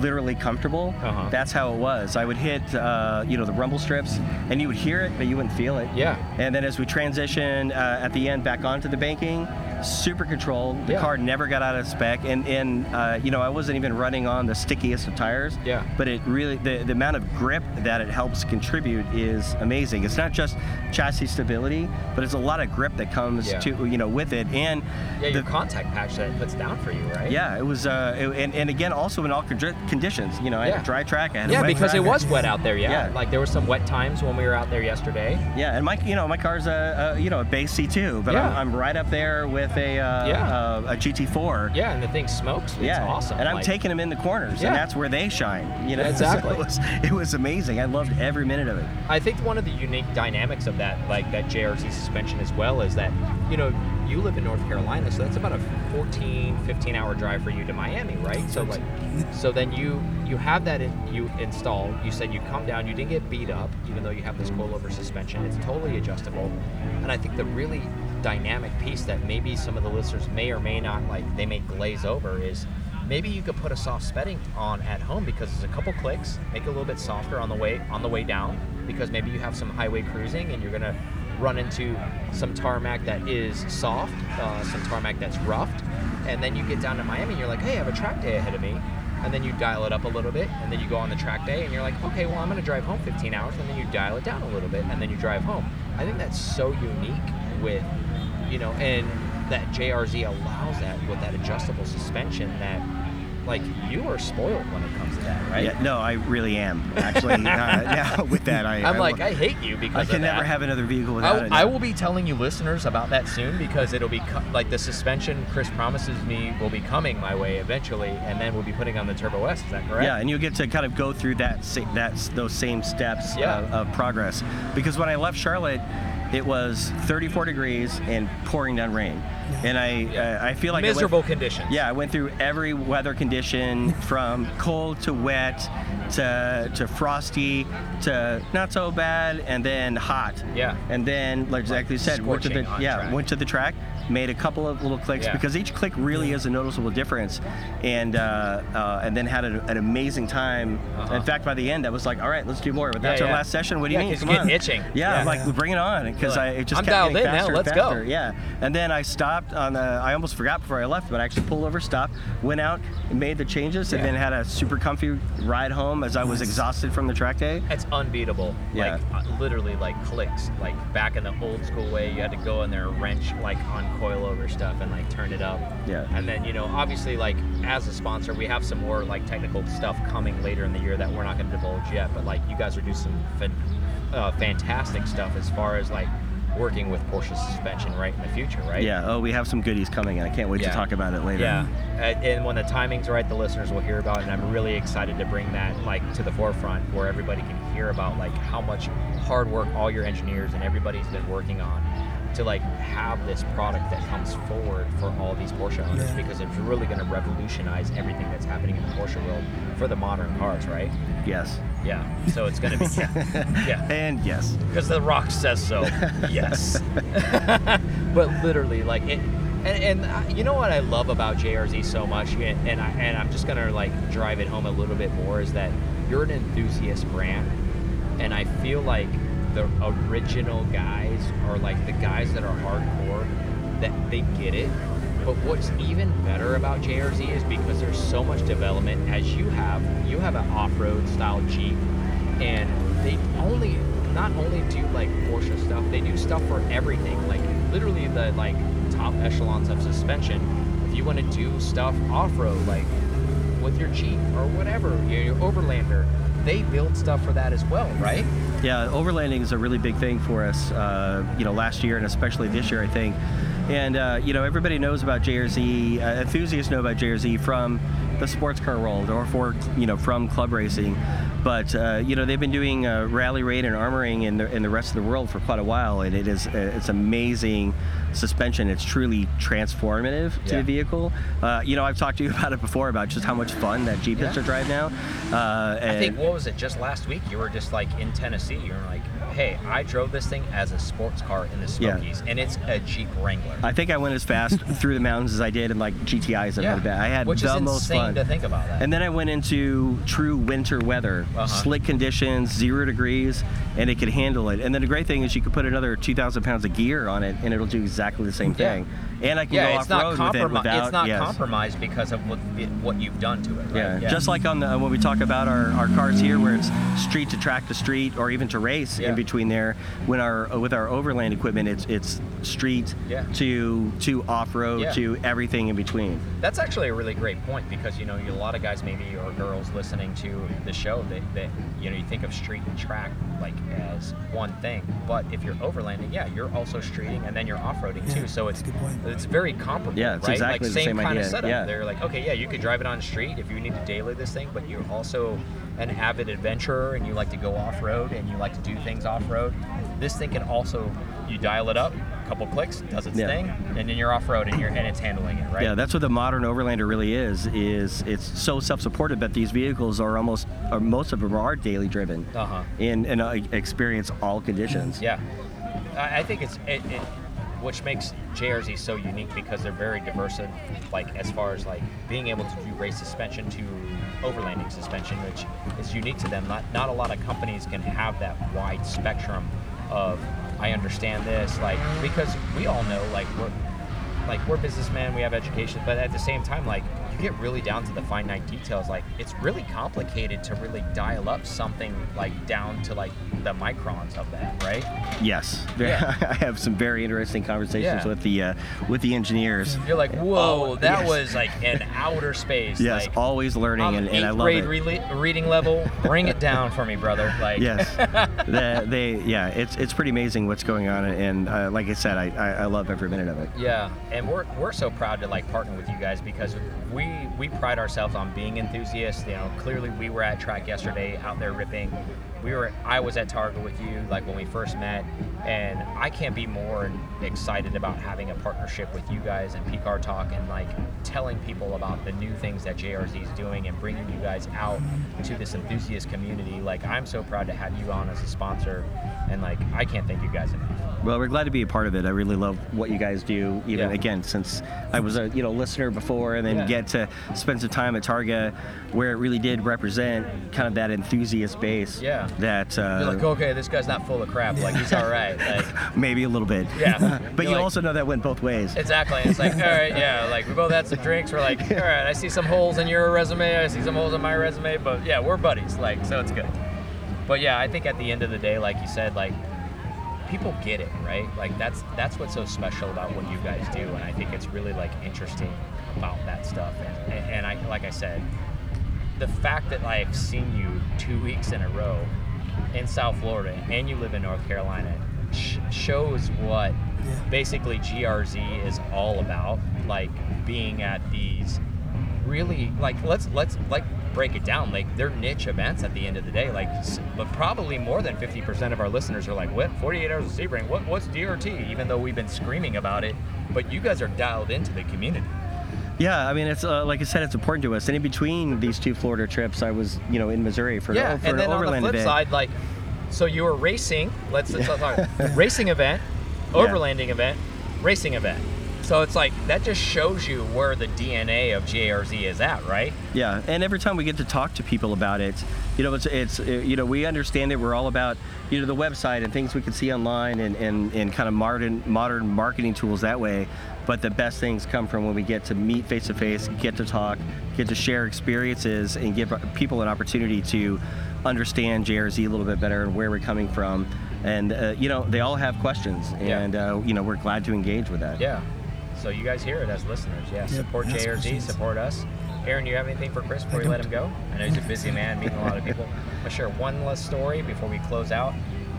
literally comfortable,
Uh-huh.
that's how it was. I would hit, uh, you know, the rumble strips, and you would hear it, but you wouldn't feel it.
Yeah.
And then as we transition uh, at the end back onto the banking, super controlled. The
Yeah.
car never got out of spec, and and uh, you know I wasn't even running on the stickiest of tires.
Yeah.
But it really the, the amount of grip that it helps contribute is amazing. It's not just chassis stability, but it's a lot of grip that comes
Yeah.
to you know with it, and
Yeah,
the,
your contact patch that it puts down for you, right?
yeah, it was, uh, it- and, and again, also in all condi- conditions. You know, I had
Yeah.
a dry track. I had a
Yeah,
wet
because it
track.
was wet out there. Yeah.
Yeah.
Like there were some wet times when we were out there yesterday.
Yeah, and my, you know, my car's a, a you know a base C2, but
Yeah.
I'm, I'm right up there with a uh,
Yeah.
uh, a GT4.
Yeah, and the thing smokes. It's
Yeah,
awesome.
And I'm
like-
taking them in the corners,
Yeah.
and that's where they shine. You know,
Yeah,
So
exactly.
it, was, it was amazing. I loved every minute of it.
I think one of the unique dynamics of that, like that JRC suspension as well, is that, you know, you live in North Carolina, so that's about a 14, 15 hour drive for you to Miami, right? So like, so then you you have that in, you install. You said you come down, you didn't get beat up, even though you have this coilover suspension. It's totally adjustable, and I think the really dynamic piece that maybe some of the listeners may or may not like, they may glaze over is. Maybe you could put a soft spedding on at home because it's a couple clicks, make it a little bit softer on the way on the way down, because maybe you have some highway cruising and you're gonna run into some tarmac that is soft, uh, some tarmac that's roughed, and then you get down to Miami and you're like, hey, I have a track day ahead of me, and then you dial it up a little bit, and then you go on the track day and you're like, okay, well I'm gonna drive home 15 hours, and then you dial it down a little bit, and then you drive home. I think that's so unique with, you know, and that JRZ allows that with that adjustable suspension that. Like you are spoiled when it comes to that, right?
Yeah, no, I really am actually. uh, yeah, with that,
I'm
I I
like,
will-
I hate you because
I can
of that.
never have another vehicle without
I,
it.
I will be telling you listeners about that soon because it'll be co- like the suspension Chris promises me will be coming my way eventually, and then we'll be putting on the Turbo S. Is that correct?
Yeah, and you'll get to kind of go through that sa- that those same steps
Yeah.
of, of progress. Because when I left Charlotte, it was 34 degrees and pouring down rain, and I uh, I feel like I went-
Miserable conditions.
yeah, I went through every weather condition from cold to wet to to frosty to not so bad, and then hot.
Yeah.
And then, like exactly you said, went to the
scorching hot
yeah
track.
went to the track, made a couple of little clicks
Yeah.
because each click really is a noticeable difference, and uh, uh, and then had an, an amazing time.
Uh-huh.
In fact, by the end, I was like, all right, let's do more. But that's
Yeah,
our
yeah.
last session. What do
Yeah,
you mean?
'cause you
Come
get
on.
itching.
Yeah,
Yeah.
I'm like bring it on because
You're like,
I it just
I'm
kept
dialed
getting
in now,
faster and
let's go.
faster. Yeah, and then I stopped on the. I almost forgot before I left, but I actually pulled over, stopped, went out, and made the changes, and
Yeah.
then had a super comfy ride home as I was exhausted from the track day.
It's unbeatable.
Yeah.
Like uh, literally, like clicks. Like back in the old school way, you had to go in there, wrench like on coilover stuff, and like turn it up.
Yeah.
And then you know, obviously, like as a sponsor, we have some more like technical stuff coming later in the year that we're not going to divulge yet. But like you guys are doing some fan- uh, fantastic stuff as far as like working with Porsche suspension right in the future, right?
Yeah. Oh, we have some goodies coming, and I can't wait
Yeah.
to talk about it later.
Yeah, and and when the timing's right, the listeners will hear about it. And I'm really excited to bring that like to the forefront, where everybody can hear about like how much hard work all your engineers and everybody's been working on to like have this product that comes forward for all these Porsche owners,
Yeah.
because it's really going to revolutionize everything that's happening in the Porsche world for the modern cars, right?
Yes.
Yeah. So it's going to be yeah.
And yes.
because the rock says so. yes. but literally, like it, and, and uh, you know what I love about JRZ so much, and, and I and I'm just gonna like drive it home a little bit more is that you're an enthusiast brand, and I feel like the original guys are like the guys that are hardcore that they get it. But what's even better about JRZ is because there's so much development as you have. You have an off-road style Jeep and they only not only do like Porsche stuff, they do stuff for everything. Like literally the like top echelons of suspension. If you want to do stuff off road, like with your Jeep or whatever, your, your Overlander, they build stuff for that as well, right?
Yeah, overlanding is a really big thing for us. Uh, you know, last year and especially this year, I think. And uh, you know, everybody knows about JRZ. Uh, enthusiasts know about JRZ from the sports car world, or for you know, from club racing. But uh, you know, they've been doing uh, rally raid and armoring in the in the rest of the world for quite a while, and it is uh, it's amazing suspension. It's truly transformative to
Yeah.
the vehicle. Uh, you know, I've talked to you about it before about just how much fun that Jeep is to drive now. Uh,
I think
and-
what was it just last week? You were just like in Tennessee. You were like, hey, I drove this thing as a sports car in the
Yeah.
Smokies, and it's a Jeep Wrangler,
I think I went as fast through the mountains as I did in like GTIs. that I had. I had
which
the
is
most
insane
fun.
to think about Uh-huh. that.
and then I went into true winter weather, slick conditions, zero degrees, and it could handle it. And then the great thing is you could put another 2,000 pounds of gear on it, and it'll do exactly the same
Yeah.
thing. And I can
Yeah,
go
it's
off
not
road with it
compromised.
without.
It's not
yes.
compromised because of what, it, what you've done to it. Right?
Yeah. Just like on the when we talk about our, our cars here, where it's street to track to street, or even to race
Yeah.
in between there. When our with our overland equipment, it's it's street
Yeah.
to to off road
Yeah.
to everything in between.
That's actually a really great point because you know you, a lot of guys maybe or girls listening to the show that, that you know you think of street and track like as one thing, but if you're overlanding, yeah, you're also streeting and then you're off-roading too.
Yeah,
So it's
that's a good point.
it's very comparable.
Yeah, it's
right?
exactly
like
the same
kind
idea,
of setup.
yeah.
They're like, okay, yeah, you could drive it on the street if you need to daily this thing, but you're also an avid adventurer and you like to go off-road and you like to do things off-road. This thing can also you dial it up, a couple clicks, does its
Yeah.
thing, and then you're off-road and you're and it's handling it right.
Yeah, that's what the modern overlander really is. Is it's so self-supported, but these vehicles are almost, or most of them are daily driven,
Uh-huh.
and and uh, experience all conditions.
Yeah, I, I think it's it, it, which makes JRZ so unique because they're very diverse. In, like as far as like being able to do race suspension to overlanding suspension, which is unique to them. Not not a lot of companies can have that wide spectrum of I understand this, like because we all know like we're like we're businessmen, we have education, but at the same time, like you get really down to the finite details. Like it's really complicated to really dial up something like down to like the microns of that, right?
Yes,
Yeah.
I have some very interesting conversations
Yeah.
with the uh, with the engineers.
You're like, whoa,
Oh,
that
yes.
was like an outer space.
Yes,
like,
always learning,
I'm
and, and I
eighth
love
grade
it.
rele- reading level. Bring it down for me, brother. Like,
yes, The- they yeah, it's it's pretty amazing what's going on, and uh, like I said, I, I, I love every minute of it.
Yeah, and we're, we're so proud to like partner with you guys because we we pride ourselves on being enthusiasts. You know, clearly we were at track yesterday, out there ripping. We were I was at Target with you like when we first met, and I can't be more excited about having a partnership with you guys and PCAR Talk and like telling people about the new things that JRZ is doing and bringing you guys out to this enthusiast community. Like I'm so proud to have you on as a sponsor, and like I can't thank you guys enough.
Well, we're glad to be a part of it. I really love what you guys do. Even
Yeah.
again, since I was a you know listener before, and then
Yeah.
get to spend some time at Targa, where it really did represent kind of that enthusiast base.
Yeah.
That uh,
You're like, okay, this guy's not full of crap. Like he's all right. Like
maybe a little bit.
Yeah.
but
You're
you
like-
also know that went both ways.
Exactly. It's like, all right, yeah, like we both had some drinks. We're like, all right, I see some holes in your resume. I see some holes in my resume, but yeah, we're buddies. Like, so it's good. But yeah, I think at the end of the day, like you said, like people get it, right? Like that's that's what's so special about what you guys do, and I think it's really like interesting about that stuff. And, and, and I, like I said, the fact that I've seen you two weeks in a row in South Florida and you live in North Carolina sh- shows what basically GRZ is all about. Like being at these really like let's let's like break it down like they're niche events at the end of the day like s- but probably more than 50% of our listeners are like what 48 hours of sebring what what's drt even though we've been screaming about it but you guys are dialed into the community
Yeah, I mean, it's uh, like I said, it's important to us. And in between these two Florida trips, I was, you know, in Missouri for,
yeah,
an, for
and
an
then on the
overland
flip
event.
side, like, so you were racing. Let's, let's talk racing event, overlanding event, racing event. So it's like that just shows you where the DNA of JRZ is at, right?
Yeah, and every time we get to talk to people about it, you know, it's it's uh, you know we understand it. We're all about you know the website and things we can see online and and, and kind of modern modern marketing tools that way. But the best things come from when we get to meet face to face, get to talk, get to share experiences, and give people an opportunity to understand JRZ a little bit better and where we're coming from. And uh, you know, they all have questions,
Yeah.
and uh, you know, we're glad to engage with that.
Yeah. So you guys hear it as listeners. Yeah. support
ask
JRZ,
questions.
support us. Aaron, do you have anything for Chris before we let him go? I know he's a busy man, meeting a lot of people. I'll share one last story before we close out.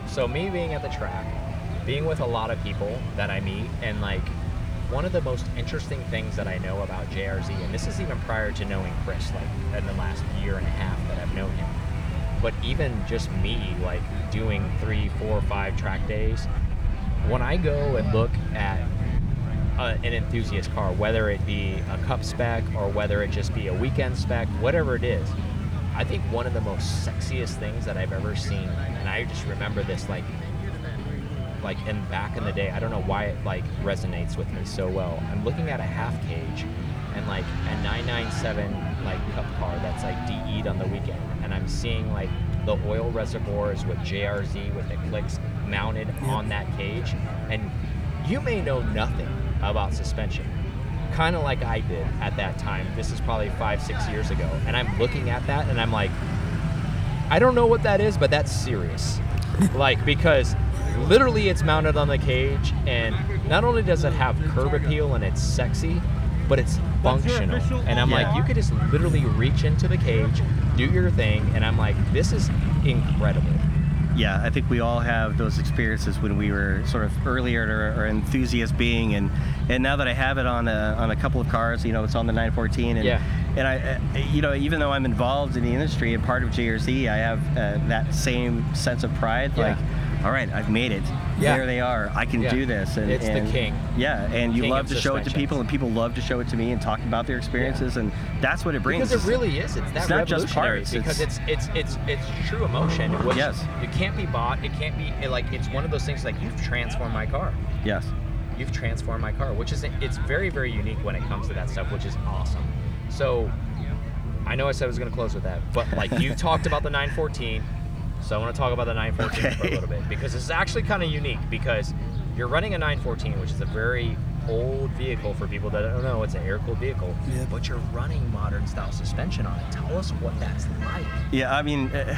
So me being at the track, being with a lot of people that I meet, and like one of the most interesting things that I know about JRZ, and this is even prior to knowing Chris, like in the last year and a half that I've known him, but even just me like doing three four five track days when i go and look at uh, an enthusiast car whether it be a cup spec or whether it just be a weekend spec whatever it is i think one of the most sexiest things that i've ever seen and i just remember this like like and back in the day i don't know why it like resonates with me so well i'm looking at a half cage and like a 997 like cup car that's like de'd on the weekend and I'm seeing like the oil reservoirs with JRZ with the clicks mounted on that cage. And you may know nothing about suspension, kind of like I did at that time. This is probably five, six years ago. And I'm looking at that and I'm like, I don't know what that is, but that's serious. like because literally it's mounted on the cage and not only does it have curb appeal and it's sexy, but it's functional. And I'm like, you could just literally reach into the cage, do your thing, and I'm like, this is incredible.
yeah, I think we all have those experiences when we were sort of earlier or, or enthusiast being, and and now that I have it on a, on a couple of cars, you know, it's on the 914, and
Yeah.
and I, I- you know, even though I'm involved in the industry and part of JRC, I have uh, that same sense of pride,
Yeah.
like. All right, I've made it.
Yeah.
There they are. I can
Yeah.
do this. And,
It's the
and-
king.
Yeah, and you
King
love
of
to show it to
suspensions.
people, and people love to show it to me and talk about their experiences, and that's what it brings.
Because it really is. It's that
It's not just
revolutionary
parts,
Because
it's-
it's it's it's it's true emotion. Which
Yes.
It can't be bought. It can't be it, like it's one of those things. Like you've transformed my car.
yes.
You've transformed my car, which is it's very very unique when it comes to that stuff, which is awesome. So, I know I said I was going to close with that, but like you talked about the 914, so I want to talk about the 914 for a
Okay.
little bit because it's actually kind of unique because you're running a 914, which is a very old vehicle for people that don't know. It's an air-cooled vehicle,
Yeah.
but you're running modern-style suspension on it. Tell us what that's like.
Yeah, I mean, uh,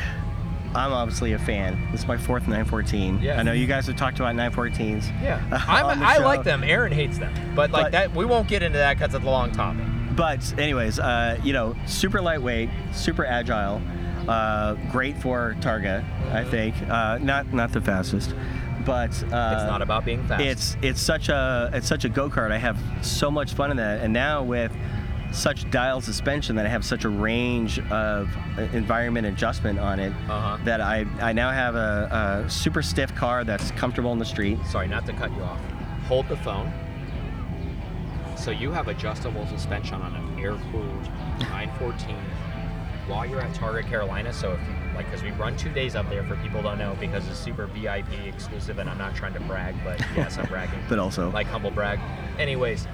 I'm obviously a fan. This is my fourth 914.
Yeah.
I know you guys have talked about 914s.
Yeah,
on
I'm,
the
I
show.
like them. Aaron hates them, but like
But-
that, we won't get into that because it's a long topic.
But, anyways, uh, you know, super lightweight, super agile, uh, great for Targa, I think. Uh, not not the fastest, but uh, it's
It's not about being fast.
It's it's such a it's such a go kart. I have so much fun in that, and now with such dial suspension that I have such a range of uh, environment adjustment on it
Uh-huh.
that I I now have a, a super stiff car that's comfortable in the street.
sorry, not to cut you off. Hold the phone. So you have adjustable suspension on an air-cooled 914 while you're at Target, Carolina. So if you like, because we run two days up there for people don't know because it's super VIP exclusive, and I'm not trying to brag, but yes, I'm bragging.
But also-
like humble brag. Anyways,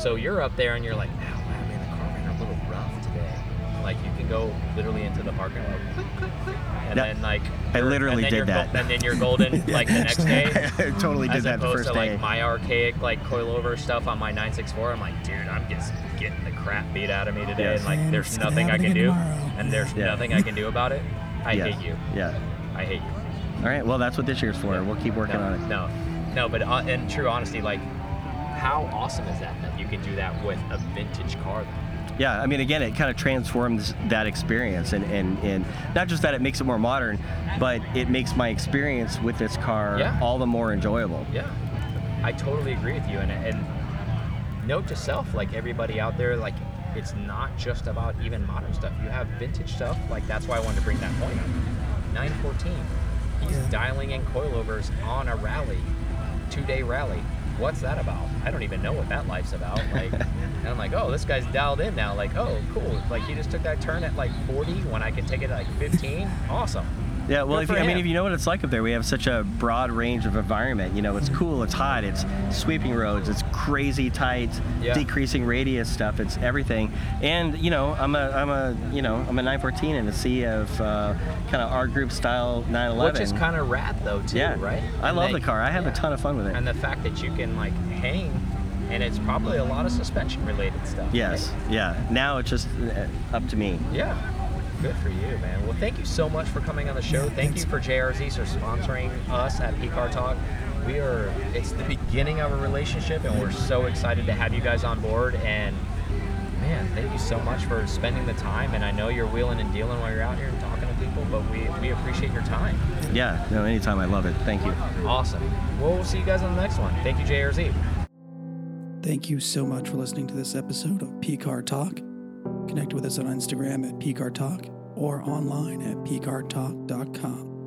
so you're up there and you're like, oh, man, man, the car ran a little rough today. Like you can go literally into the parking lot, click, click, click, and
Yeah.
then like
I
you're- and
literally
then
did
you're go-
that.
and then you're golden like the next day
I totally did
as
that the
opposed
first
to
day.
like my archaic like coilover stuff on my 964 i'm like dude i'm just getting the crap beat out of me today
Yes.
and like
And
there's
it's gonna
nothing i
happen
can do
again tomorrow.
and there's
Yeah.
nothing i can do about it i
Yeah.
hate you
Yeah.
i hate you
All right. Well, that's what this year's for. We'll keep working
no,
on it.
no no but uh, in true honesty like how awesome is that that you can do that with a vintage car though?
Yeah, I mean, again, it kind of transforms that experience, and, and, and not just that it makes it more modern, but it makes my experience with this car
Yeah.
all the more enjoyable.
yeah i totally agree with you and, and note to self like everybody out there like it's not just about even modern stuff you have vintage stuff like that's why i wanted to bring that point up 914 he's
Yeah.
dialing in coilovers on a rally two day rally what's that about i don't even know what that life's about like and i'm like oh this guy's dialed in now like oh cool like he just took that turn at like 40 when i could take it at like 15 awesome
Yeah, well,
Good
if you,
for
I mean,
him.
if you know what it's like up there, we have such a broad range of environment. You know, it's cool, it's hot, it's sweeping roads, it's crazy tight,
Yeah.
decreasing radius stuff, it's everything. And you know, I'm a, I'm a, you know, I'm a 914 in a sea of uh, kind of our group style 911.
which is kind of rad though too
yeah,
right
I
And
love
they-
the car. I have
yeah.
a ton of fun with it.
and the fact that you can like hang and it's probably a lot of suspension related stuff
yes, yeah. Now it's just uh, up to me.
right? yeah good for you man well thank you so much for coming on the show thank you for jrz for sponsoring us at pcar talk we are it's the beginning of a relationship and we're so excited to have you guys on board and man thank you so much for spending the time and i know you're wheeling and dealing while you're out here and talking to people but we, we appreciate your time
Yeah. No, anytime. I love it. Thank you.
awesome well we'll see you guys on the next one thank you jrz
Thank you so much for listening to this episode of PCAR Talk. Connect with us on Instagram at PCAR Talk or online at PCARTalk.com.